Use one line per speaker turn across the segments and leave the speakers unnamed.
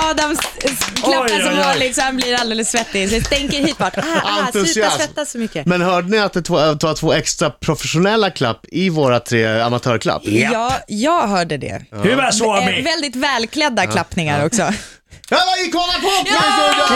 Adams eh, klappar
Oj, oj,
som
oj.
vanligt så han blir alldeles svettig. Så det stänker hit bort. Ah, ah, sluta
Entusiasm.
svettas så mycket.
Men hörde ni att det var två, två extra professionella klapp i våra tre amatörklapp?
Ja, jag hörde det.
Hyvä
Eh,
Suomi!
väldigt välklädda klappningar också.
Alla gick kolla på! Ja!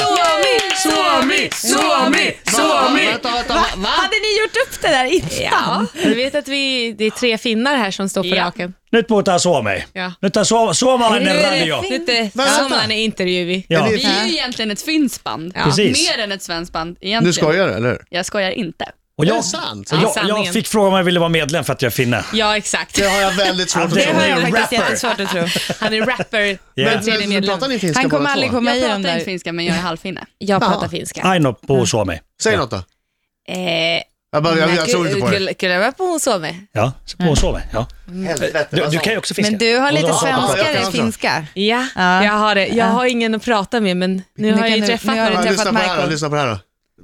Suomi! Suomi! Suomi!
Vänta, vänta, va? va?
Hade ni gjort upp det där innan?
Du vet att vi, det är tre finnar här som står på raken.
Nyt puhutaan Suomea.
Ja.
Nyt on suo- suomalainen radio.
Nyt är
Vänta.
sommarna intervjuer.
Ja.
Vi är ju egentligen ett finskt band,
Precis.
mer än ett svenskt band egentligen.
Du skojar eller hur?
Jag skojar inte.
Och
Är det
jag,
sant?
jag, jag
sanningen.
fick frågan om jag ville vara medlem för att jag är finne.
Ja, exakt.
Det har jag väldigt svårt att
Det
tro.
har jag-
Det är faktiskt
Rapper.
jättesvårt att tro.
Han är rapper.
Yeah.
tredje
Men,
medlem.
pratar ni finska
Han kommer
båda
aldrig
två?
komma
Jag
i
pratar
de
inte
där.
finska men jag är halvfinne.
Jag
Ja.
pratar finska.
Aino puhuu suomea.
Säg något då.
Eh,
Jag, bara, jag, jag tror inte på det.
Skulle jag vara på hon sover?
Ja, puhuu suomea. Ja.
Helvete.
Du,
vad
du
sa
kan ju också finska.
Men du har lite
Ja, jag kan
svenskare i
också.
finska.
Ja,
Ja.
jag har det. Jag
Ja.
har ingen att prata med, men nu
Nu
har jag
kan
ju
du-
träffat
nu har
Ja,
du-
honom.
lyssna, på det här, då,
Michael.
lyssna på det här då.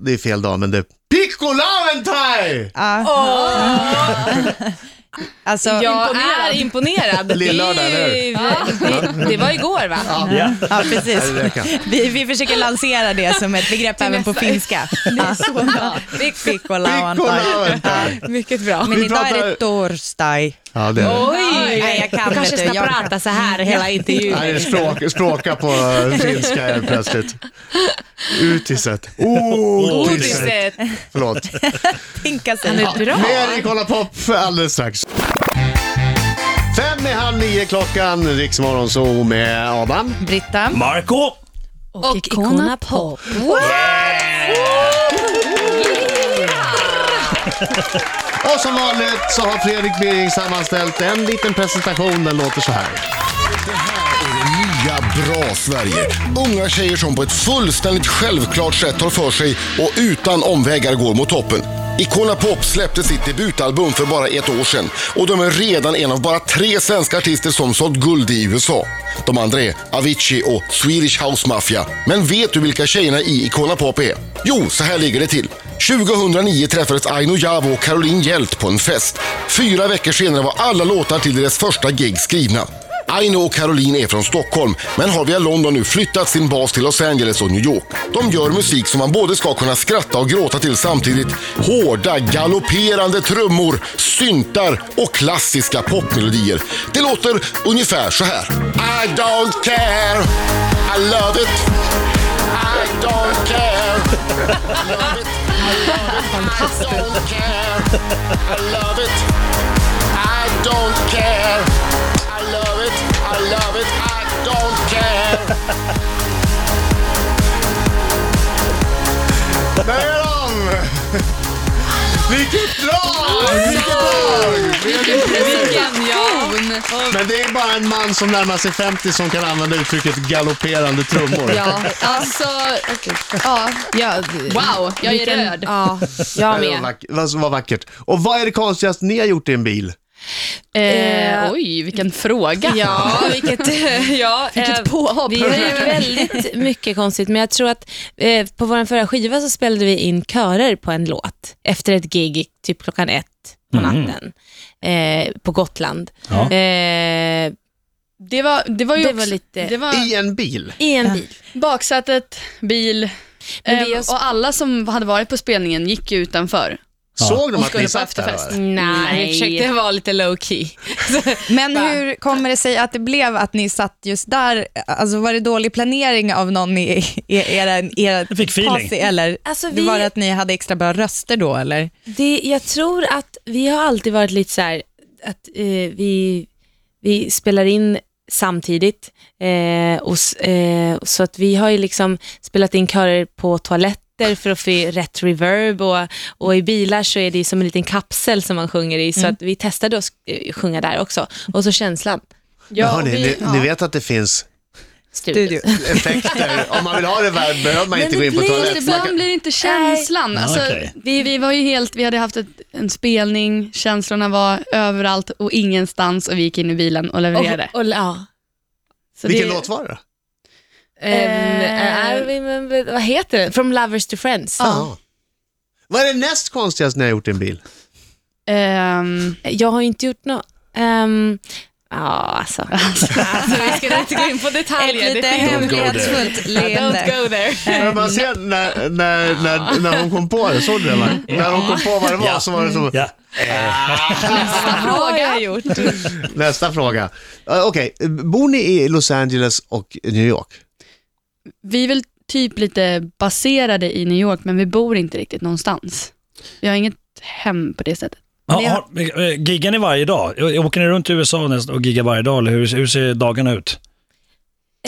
Det är fel dag, men det är Pikko Lauentai!
Ja. alltså,
Jag är imponerad.
Lill-lördag, eller hur?
Vi- det, det var igår, va?
Ja.
ja, precis.
det räcker.
Vi, vi försöker lansera det som ett begrepp även på finska. Pikko
Pikko
lauantai.
Lauentai.
Mycket bra.
Men
Vi
idag är
pratar-
det torsdag.
Ja, det är det.
Oj!
Nej, jag kan
kanske
inte.
ska
Jag-
prata så här hela intervjun.
Nej, det är språk, språka på finska helt plötsligt. Utiset. Otiset.
Godiset.
Förlåt.
Pinka sig.
Han är bra.
Mer i Kolla Pop för alldeles strax. Fem i halv nio klockan, Riksmorgon så med Adam.
Britta.
Marco!
Och Icona Pop.
Och som vanligt så har Fredrik Bering sammanställt en liten presentation, den låter så här.
Nya bra Sverige. Unga tjejer som på ett fullständigt självklart sätt tar för sig och utan omvägar går mot toppen. Icona Pop släppte sitt debutalbum för bara ett år sedan och de är redan en av bara tre svenska artister som sålt guld i USA. De andra är Avicii och Swedish House Mafia. Men vet du vilka tjejerna i Icona Pop är? Jo, så här ligger det till. 2009 träffades Aino Javo och Caroline Hjält på en fest. Fyra veckor senare var alla låtar till deras första gig skrivna. Aino och Caroline är från Stockholm, men har via London nu flyttat sin bas till Los Angeles och New York. De gör musik som man både ska kunna skratta och gråta till samtidigt. Hårda, galopperande trummor, syntar och klassiska popmelodier. Det låter ungefär så här. I don't care, I love it. I don't care. I love it. I don't care. I love it. I don't care. I love it. I love it. I don't care.
Där är de! Vilket drag! Vilket drag! Vilket drag!
Vilken ton!
Men det är bara en man som närmar sig 50 som kan använda uttrycket galopperande trummor.
Ja, alltså,
Ja, ja,
wow, jag är röd.
Ja, jag
Det var
med.
vackert. Vad- Vad vackert. Och vad är det konstigaste ni har gjort i en bil?
Eh, oj, vilken fråga.
Ja, vilket, ja, eh, vilket
påhopp.
Vi gör ju väldigt mycket konstigt, men jag tror att eh, på vår förra skiva så spelade vi in körer på en låt efter ett gig typ klockan ett på natten eh, på Gotland.
Ja.
Eh,
Det var, det var ju
Det
också-
var lite-
det var
I en bil?
I en bil.
baksätet, bil
Men det är
eh,
också-
och alla som hade varit på spelningen gick ju utanför.
Såg de
Och
att
skulle
ni
på
satt där?
efterfest.
eller?
Nej, vi försökte vara lite low key.
Men hur kommer det sig att det blev att ni satt just där? Alltså var det dålig planering av någon i i era, era
Jag fick feeling.
posse, eller
Alltså,
det
vi-
var det att ni hade extra bra röster då eller?
Det, jag tror att vi har alltid varit lite så här att eh, vi, vi spelar in samtidigt. Eh, och, s- eh, så att vi har ju liksom spelat in körer på toaletter för att få i rätt reverb och, och i bilar så är det ju som en liten kapsel som man sjunger i. Så att vi testade att eh, sjunga där också. Och så känslan.
Men
och
hörni,
vi-
ni, ni vet att det finns
Studio.
effekter. Om man vill ha det värd behöver man inte gå in på
det blir-
Fast
toaletten. Man
ibland
kan-
blir det inte känslan. Alltså,
okej.
vi, vi var ju helt, vi hade haft ett, en spelning, känslorna var överallt och ingenstans och vi gick in i bilen och levererade.
Och, och, ja.
Så
Oh, Vilken
det,
låt var det?
Ehm, eh, I remember- vad heter den? From Lovers to Friends.
Ja. Vad är det näst konstigaste ni har gjort i en bil?
ehm,
Jag har inte gjort något. Ehm, Ja, alltså. alltså. vi ska inte gå in på
Ett
detaljer.
lite
Det finns-
hemlighetsfullt leende.
Don't go there.
Men man ser när, när, när, när hon kom på det, såg du det? va? När hon kom på vad det var
Ja.
så var det så.
Ja.
Fråga. jag gjort.
Nästa fråga. Eh, Okej, bor ni i Los Angeles och New York?
Vi är väl typ lite baserade i New York, men vi bor inte riktigt någonstans. Vi har inget hem på det sättet.
Ja,
Vi har-
har, eh, giggar ni varje dag? Ö- Åker ni runt i USA nästan och giggar varje dag, eller hur, hur ser dagarna ut?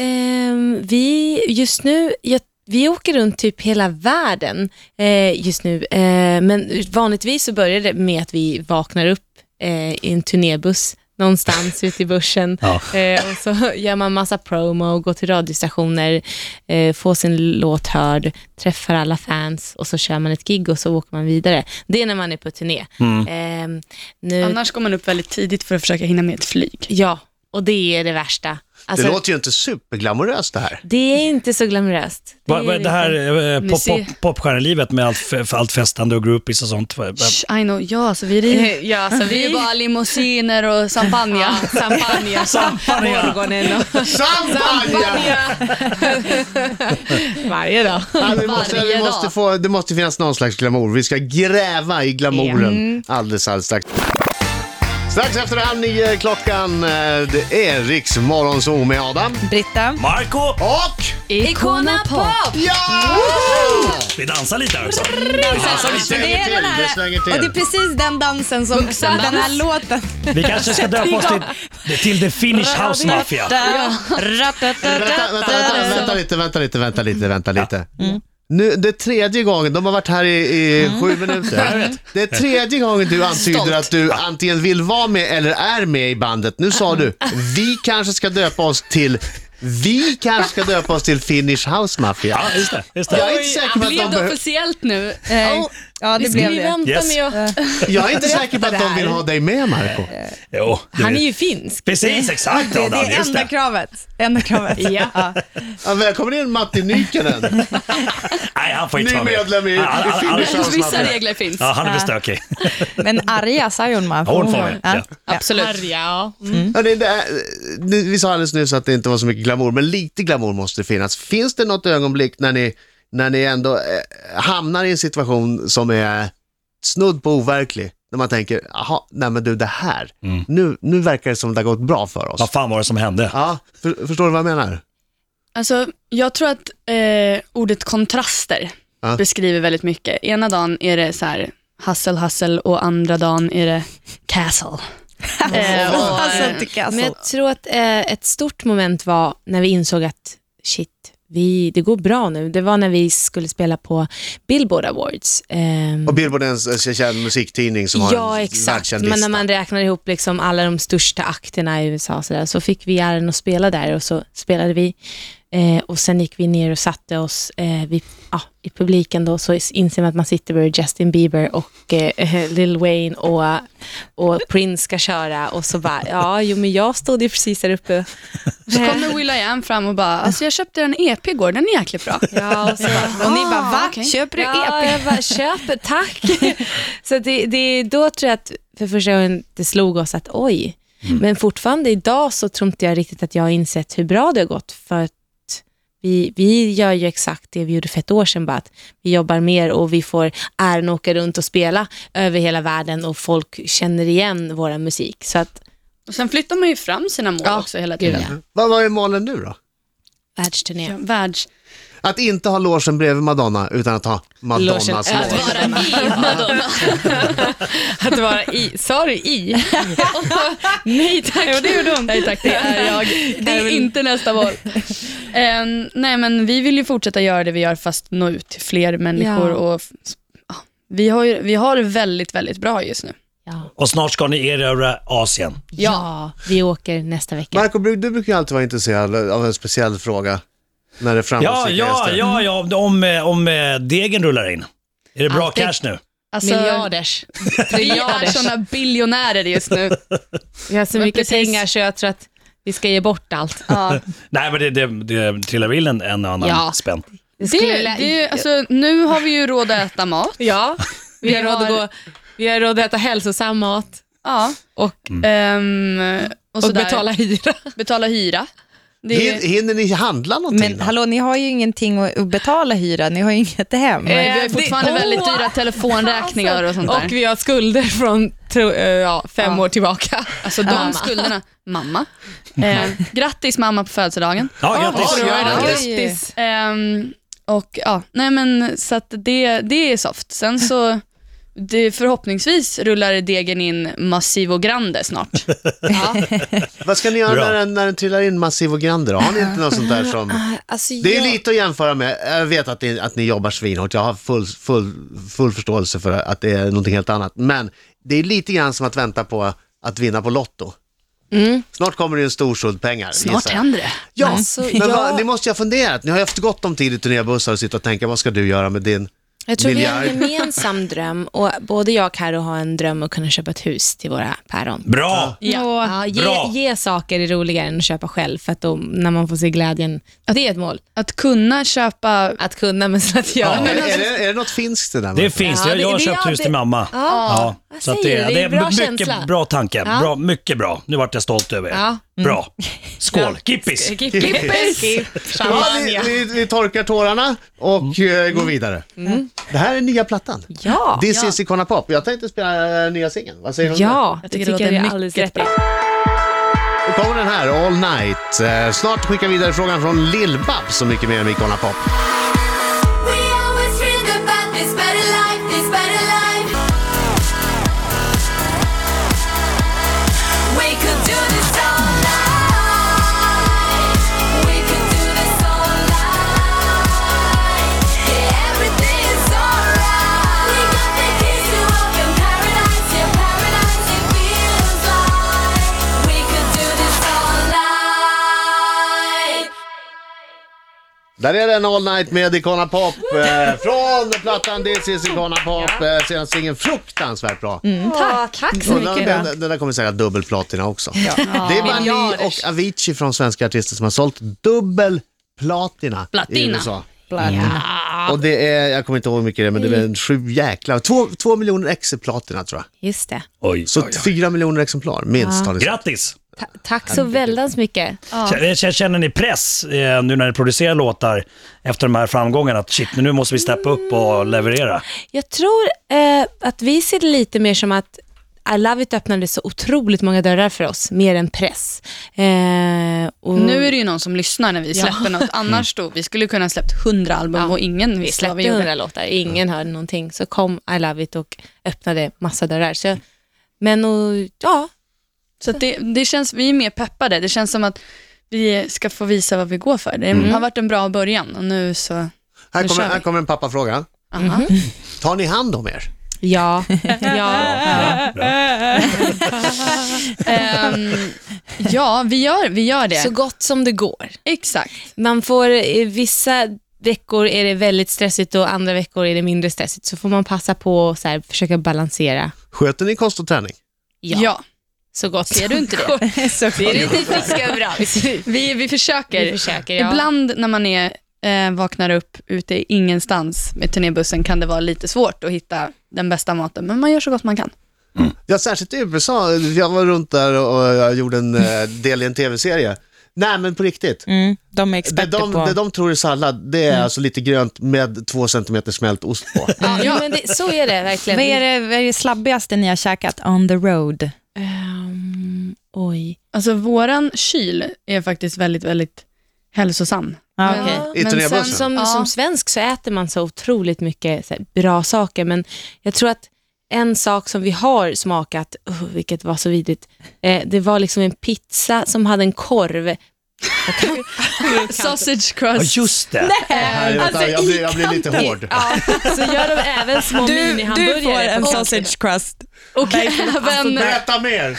Ehm, vi, just nu, jag, vi åker runt typ hela världen eh, just nu. Eh, men vanligtvis så börjar det med att vi vaknar upp eh, i en turnébuss någonstans ute i bussen.
Ja.
Eh, och så gör man massa promo, går till radiostationer, eh, får sin låt hörd, träffar alla fans och så kör man ett gig och så åker man vidare. Det är när man är på turné. Ehm, nu,
Annars går man upp väldigt tidigt för att försöka hinna med ett flyg.
Ja, och det är det värsta.
Det
Alltså,
låter ju inte superglamoröst det här.
det är inte så glamoröst.
Vad- vad-
är
Det här eh,
Ni
pop,
ser-
pop, popstjärnelivet med allt, f- allt festande och groupies och sånt. Vad- vad-
Shh, I know, ja, så vi river.
Ja, så
Det är
vi
bara limousiner och champagne.
Ja, champagne,
Champagne.
morgonen och
Champagne!
varje dag.
Ja, vi måste, vi
Varje
måste
dag.
få, det måste finnas någon slags glamour. Vi ska gräva i glamouren alldeles, alldeles strax. Strax efter halv nio klockan, eh, det är Riks Morgonzoo med Adam.
Britta,
Marco!
Och...
Icona Pop!
Ja!
Vi dansar lite här också.
Alltså, vi
det
svänger
är
till,
den
vi
här,
svänger
och det är
till.
precis den dansen som den här låten.
Vi kanske ska döpa oss till, till The Finnish House Mafia.
Vänta, vänta, vänta, vänta lite, vänta lite, vänta lite, vänta lite. Nu, det är tredje gången, de har varit här i, i sju minuter. Det är tredje gången du antyder att du antingen vill vara med eller är med i bandet. Nu sa du, vi kanske ska döpa oss till, vi kanske ska döpa oss till Finnish House Mafia.
Ja, just det. Just
Jag
det.
är inte säker på att
Blev
de
det
behöver...
officiellt nu? Eh,
Ja, det blev
Vi
det.
väntar
Yes.
med att...
Jag är inte säker på att de vill ha dig med, Marco.
Jo, det-
Han är ju finsk.
Precis, exakt
Det, det
Adam.
är
Just
enda
det.
kravet. Enda kravet. Ja.
Ja, välkommen in Matti Nykänen.
Nej, han får inte
Ny
vara med.
medlem i- i
Ja, han- han- han-
Finnish House
Vissa
Mafia.
regler finns.
Ja, han är väl stökig.
Men arga Sayonma
Ja, hon får med, ja.
Absolut.
Ja. Mm.
Ja, det, det, är- ni- vi sa alldeles nyss att det inte var så mycket glamour, men lite glamour måste det finnas. Finns det något ögonblick när ni, när ni ändå eh, hamnar i en situation som är snudd på overklig? När man tänker, jaha, nej men du det här, nu, nu verkar det som det har gått bra för oss.
Mm. Vad fan var det som hände?
Ja, för, förstår du vad jag menar?
Alltså, jag tror att eh, ordet kontraster
Ja.
beskriver väldigt mycket. Ena dagen är det så här hassel, hassel och andra dagen är det castle. eh, och,
Alltså, tycker jag
Men
så.
jag tror att eh, ett stort moment var när vi insåg att shit, vi, det går bra nu. Det var när vi skulle spela på Billboard Awards. Ehm,
Mm.
Och Billboard är en s- känd musiktidning som har
Ja,
en
exakt.
världskänd
Men
lista.
när man räknar ihop liksom alla de största akterna i USA så, där, så fick vi äran att spela där och så spelade vi. Eh, och sen gick vi ner och satte oss eh, vi, ja, i publiken då, så is- inser man att man sitter med Justin Bieber och eh, Lil Wayne och, och Prince ska köra och så bara, ja, jo men jag stod ju precis där uppe.
så kommer Will.i.am fram och bara, alltså jag köpte en EP igår, den är jäkligt bra.
Ja, och så
Och ni bara, va?
okej.
Köper du E
ja,
EP?
jag bara, köper, tack. E så det, det, då tror jag att för första gången det slog oss att oj, men fortfarande idag så tror inte jag riktigt att jag har insett hur bra det har gått för att vi, vi gör ju exakt det vi gjorde för ett år sedan, bara att vi jobbar mer och vi får äran att åka runt och spela över hela världen och folk känner igen vår musik. Så att
Och sen flyttar man ju fram sina mål
Ja,
också hela
gud
tiden.
Vad var är målen nu då?
världsturné.
Ja, Världs...
Att inte ha logen bredvid Madonna, utan att ha Madonnas
Logen-
lås.
att vara i Madonna. att vara i, sa du i? Nej tack. Jo, det gjorde hon. Nej tack,
Det är jag. Det är inte nästa val. Ehm, nej, men vi vill ju fortsätta göra det vi gör fast nå ut till fler människor.
Ja.
Och, ja, vi, har ju, vi har det väldigt, väldigt bra just nu.
Ja.
Och snart ska ni erövra Asien.
ja, vi åker nästa vecka.
Marco, du du brukar ju alltid vara intresserad av en speciell fråga. När det är
Ja,
framgångsrika
ja,
gäster.
ja, ja om, om, eh, om eh, degen rullar in. Är det bra
Alltid.
cash nu?
Alltså,
Miljarders.
Vi är såna biljonärer just nu.
Vi har så
Men
mycket
precis.
pengar så jag tror att vi ska ge bort allt.
Nej, men det, det, det trillar väl in en, en annan
Ja.
spänn.
Det
Det, det, alltså, nu har vi ju råd att äta mat.
ja, vi har råd att gå, vi har råd att äta hälsosam mat.
Ja.
Och
Ehm, Och,
och
sådär.
betala hyra.
betala hyra. Det är,
Hin- Hinner ni handla någonting?
Men
då?
hallå, ni har ju ingenting att att betala hyra, ni har ju inget hem.
Eh,
Nej, vi har ju fortfarande
Eh, det-
väldigt
Åh! Alltså,
dyra telefonräkningar och sånt där.
Och vi har skulder från tro, eh, ja, fem
Ja.
år tillbaka.
Alltså de
Mamma.
skulderna. Mamma. Eh, grattis mamma på födelsedagen.
Ja, grattis.
vad bra.
Grattis.
Grattis.
Ehm, och ja, nej men så att det, det är soft. Sen så det, förhoppningsvis rullar degen in Massivo Grande snart. Ja.
Vad ska ni göra
Bra.
när den, när den trillar in massiv och grande då? Har ni inte något sånt där som...
Alltså,
Det är
jag-
lite att jämföra med. Jag vet att ni, att ni jobbar svinhårt. Jag har full, full, full förståelse för att det är någonting helt annat. Men det är lite grann som att vänta på att vinna på Lotto. Snart kommer det ju en stor skuld pengar.
Snart
gissar jag.
händer det.
Ja,
Alltså,
men vad,
jag-
ni måste ju ha funderat. Ni har ju haft gott om tid i turnébussar och sitta och tänka, vad ska du göra med din...
Jag tror vi har en
Miljard.
gemensam dröm och både jag och Karo har en dröm att kunna köpa ett hus till våra päron.
Bra!
Ja,
Bra.
ge, ge saker är roligare än att köpa själv för att då, när man får se glädjen. Det är ett mål.
Att kunna köpa
Att kunna men alltså- så att göra.
Ja.
Är, är, det, är det något finskt det där?
Det finns,
Ja,
jag,
det-
jag har
det-
köpt
det-
hus till mamma.
Ja, vad
så att
säger du? Det är en bra
mycket
känsla.
bra tanke. Bra, mycket bra. Nu vart jag stolt över er.
Ja. Mm.
Bra. Skål, kippis!
Kippis!
ja, vi, vi, vi torkar tårarna och eh, går vidare. Det här är nya plattan.
Mm. Ja,
This is Icona Pop. Jag tänkte spela eh, nya singeln. Vad säger du om
ja det
tycker det låter
tycker jag är
mycket
alldeles rätt i.
det? Då kommer den här, All Night. Eh, Snart skickar vi vidare frågan från Lill-Babs så mycket mer om Icona Pop.
We always dreamed about this better life, this better life. We could do this all night. We could do this all night. Yeah, everything is alright. We got the keys to open paradise, yeah, paradise it feels like. We could do this all night.
Där är den All Night med Icona Pop. Eh, från plattan This is Icona Pop. Eh, senaste singeln fruktansvärt bra.
Tack. Tack så
Och den,
mycket.
den, den där kommer säkert dubbelplatina också. Det är bara ni och Avicii från svenska artister som har sålt dubbelplatina i
Platina.
USA. Och det är, jag kommer inte ihåg hur mycket det är, men det är en sju jäklar, två, två miljoner explatina tror jag.
Just det.
Oj,
Så
oj, oj.
fyra miljoner exemplar minst har ni sålt.
Grattis!
Ta- tack så väldans mycket.
K- k- Känner ni press eh, nu när ni producerar låtar efter de här framgångarna att shit, nu måste vi steppa upp
Mm.
och leverera?
Jag tror eh, att vi ser det lite mer som att I Love It öppnade så otroligt många dörrar för oss, mer än press. Eh, och
Nu är det ju någon som lyssnar när vi släpper något. Annars då, vi skulle kunna ha släppt 100 album och ingen
vi
visste vad
släppte
vi gjorde.
hundra låtar, ingen hörde någonting. Så kom I Love It och öppnade massa dörrar. Så, jag- men och, ja,
Så att det, det känns, vi är mer peppade. Det känns som att vi ska få visa vad vi går för. Det
Mm.
har varit en bra början och nu så...
Här kommer,
Nu kör vi.
här kommer en pappafråga.
Aha.
Mhm.
Tar ni hand om er?
ja, ja.
Ehm, ja, vi gör, vi gör det.
Så gott som det går.
Exakt.
Man får, eh, vissa veckor är det väldigt stressigt och andra veckor är det mindre stressigt. Så får man passa på och så här, försöka balansera.
Sköter ni kost och träning?
Ja.
Så gott
Ser du inte det?
Ser du inte friska och bra ut?
Vi, vi försöker.
Vi försöker, ja.
Ibland när man är, eh, vaknar upp ute i ingenstans med turnébussen kan det vara lite svårt att hitta den bästa maten, men man gör så gott man kan.
Ja, särskilt i USA. Jag var runt där och jag gjorde en eh, del i en tv-serie. Nej, men på riktigt.
Mm, de är
Det
experter
de,
på...
det de tror är sallad, det är alltså lite grönt med två centimeter smält ost på.
Ja, jo, men det, så är det verkligen.
Vad är det, vad är det slabbigaste ni har käkat on the road?
Ehm, oj.
Alltså våran kyl är faktiskt väldigt, väldigt hälsosam.
Ja,
Men-
okej.
I
men
turnébussen?
sen-
Som,
Ja.
som svensk så äter man så otroligt mycket så här, bra saker, men jag tror att en sak som vi har smakat, oh, vilket var så vidrigt, eh, det var liksom en pizza som hade en korv.
Sausage
Ja,
crust.
just det.
Nej, vänta,
Alltså,
jag,
i
blir, jag blir lite
kanten.
hård.
Ja, så gör de även små
Du, du får
minihamburgare.
en
på-
sausage crust.
och, även,
Alltså,
Berätta mer!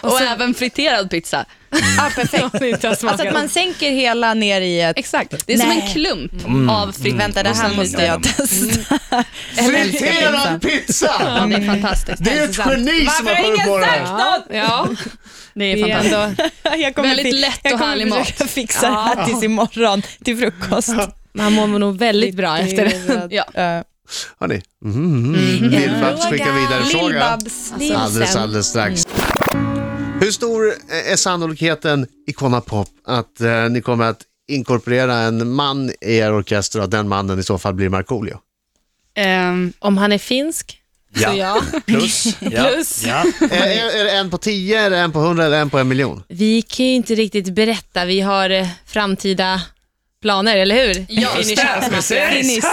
och Mm. även friterad pizza.
Ja, perfekt. Alltså att man sänker hela ner i ett...
Exakt. Det är som
Nej.
en klump av fritt.
Vänta, det här
Mm.
måste jag testa.
Friterad pizza!
Ja, det är fantastiskt.
Det är ett geni som har kommit på det här.
Ja, ja.
Det är
Det är
fantastiskt.
ändå,
Jag kommer
Väldigt
fi-
lätt
jag
och
kommer
härlig mat.
försöka fixa det här tills imorgon, till frukost.
man mår nog väldigt bra efter det.
Ja.
Eh,
Hörni, mm, mm, mm. Lill-Babs skickar vidare frågan.
Alltså,
Lill-Babs.
Alldeles, alldeles strax. Hur stor eh, är sannolikheten i Konapop att eh, ni kommer att inkorporera en man i er orkester och att den mannen i så fall blir Markoolio?
Ehm,
Om han är finsk,
Ja.
så ja.
Plus. Ja.
Plus.
Ja.
Är, är, är det en på tio, är det en på hundra eller en på en miljon?
Vi kan ju inte riktigt berätta, vi har eh, framtida planer, eller hur?
Ja,
In i
just det.
könsmaffia.
Precis.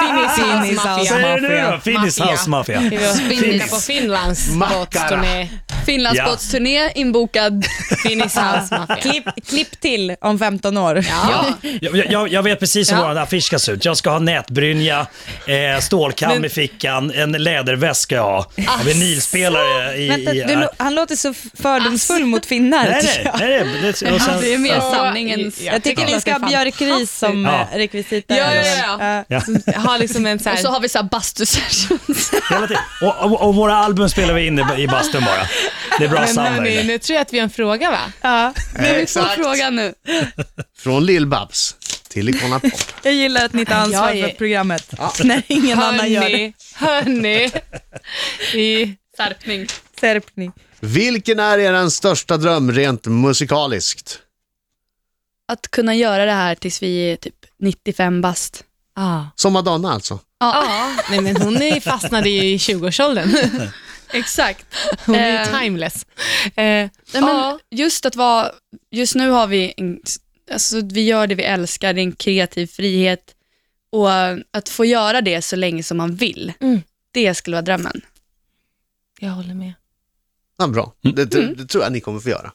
Finnish
Vad
house.
Maffia.
säger du då? Finnish
Maffia.
House Mafia.
Vi har tittat på Finlands
Makkara.
båtturné,
Finlandsbåtsturné inbokad.
Finnish House
alltså.
Mafia.
Klipp, klipp till om 15 år.
Ja.
Jag, jag, jag vet precis hur
Ja.
vår affisch ska se ut. Jag ska ha nätbrynja, eh, stålkam i fickan, en läderväst ska jag ha. Jag vill nilspelare i...
Vänta,
i
du, lo- han låter så fördomsfull mot finnar.
nej,
tycker
nej,
jag.
nej, nej. Det, och sen,
Det är mer sanning än...
Jag tycker ni ska ha björkris som
Ja.
eh, rekvisita.
Ja, ja, ja.
Eh,
ja,
Har liksom en så
Och så
här,
har vi så här bastu-sessions.
hela tiden. och, och, och våra album spelar vi in i, i bastun bara. Det är bra
men hörni,
sound.
nu tror jag att vi har en fråga va?
ja.
Vi får frågan nu.
Från Lill-Babs till Icona Pop.
Jag gillar att ni tar ansvar
Jag är-
för programmet när ingen annan gör det.
Hörni, hörni. Vi-
Skärpning.
Serpning.
Vilken är er största dröm rent musikaliskt?
Att kunna göra det här tills vi är typ 95 bast.
Ah.
Som Madonna alltså.
Ja, nej men hon är fastnade ju i 20-årsåldern.
Exakt.
Hon är ju
Eh.
timeless. Eh,
Nej, men just att vara, just nu har vi, en, alltså vi gör det vi älskar, det är en kreativ frihet och eh, att få göra det så länge som man vill,
Mm.
det skulle vara drömmen.
jag håller med.
Ja, bra, det, det, det tror jag ni kommer få göra.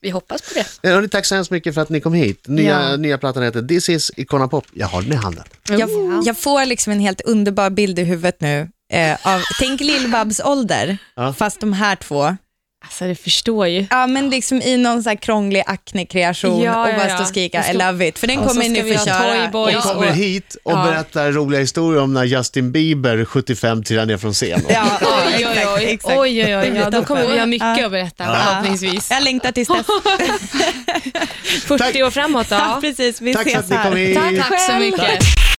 Vi hoppas på det.
Eh, Hörni, tack så hemskt mycket för att ni kom hit. Nya,
Ja.
nya plattan heter This is Icona Pop. Jag har den i handen.
Jag, jag får liksom en helt underbar bild i huvudet nu. Eh, av, tänk Lill-Babs ålder,
Ja.
fast de här två.
Alltså du förstår ju.
Ja, men liksom i någon så här krånglig akne-kreation
Ja,
och
ja,
bara
ja.
stå och skrika
Och
I
så-
love it, för den
och så
kommer ni
ska vi
få
ha
köra.
Toyboy.
Och
Ja,
kommer
och-
hit och
ja.
berättar roliga historier om när Justin Bieber, 75, trillade ner från scen.
Ja,
Oj, oj,
exakt,
oj.
exakt.
oj, oj, oj. Ja, då kommer vi ha mycket
Ja.
att berätta
Ja.
förhoppningsvis.
Jag längtar tills dess.
40 år framåt då.
Ja, precis. Vi
Tack för
ses
att ni kom
här.
hit.
Tack så mycket.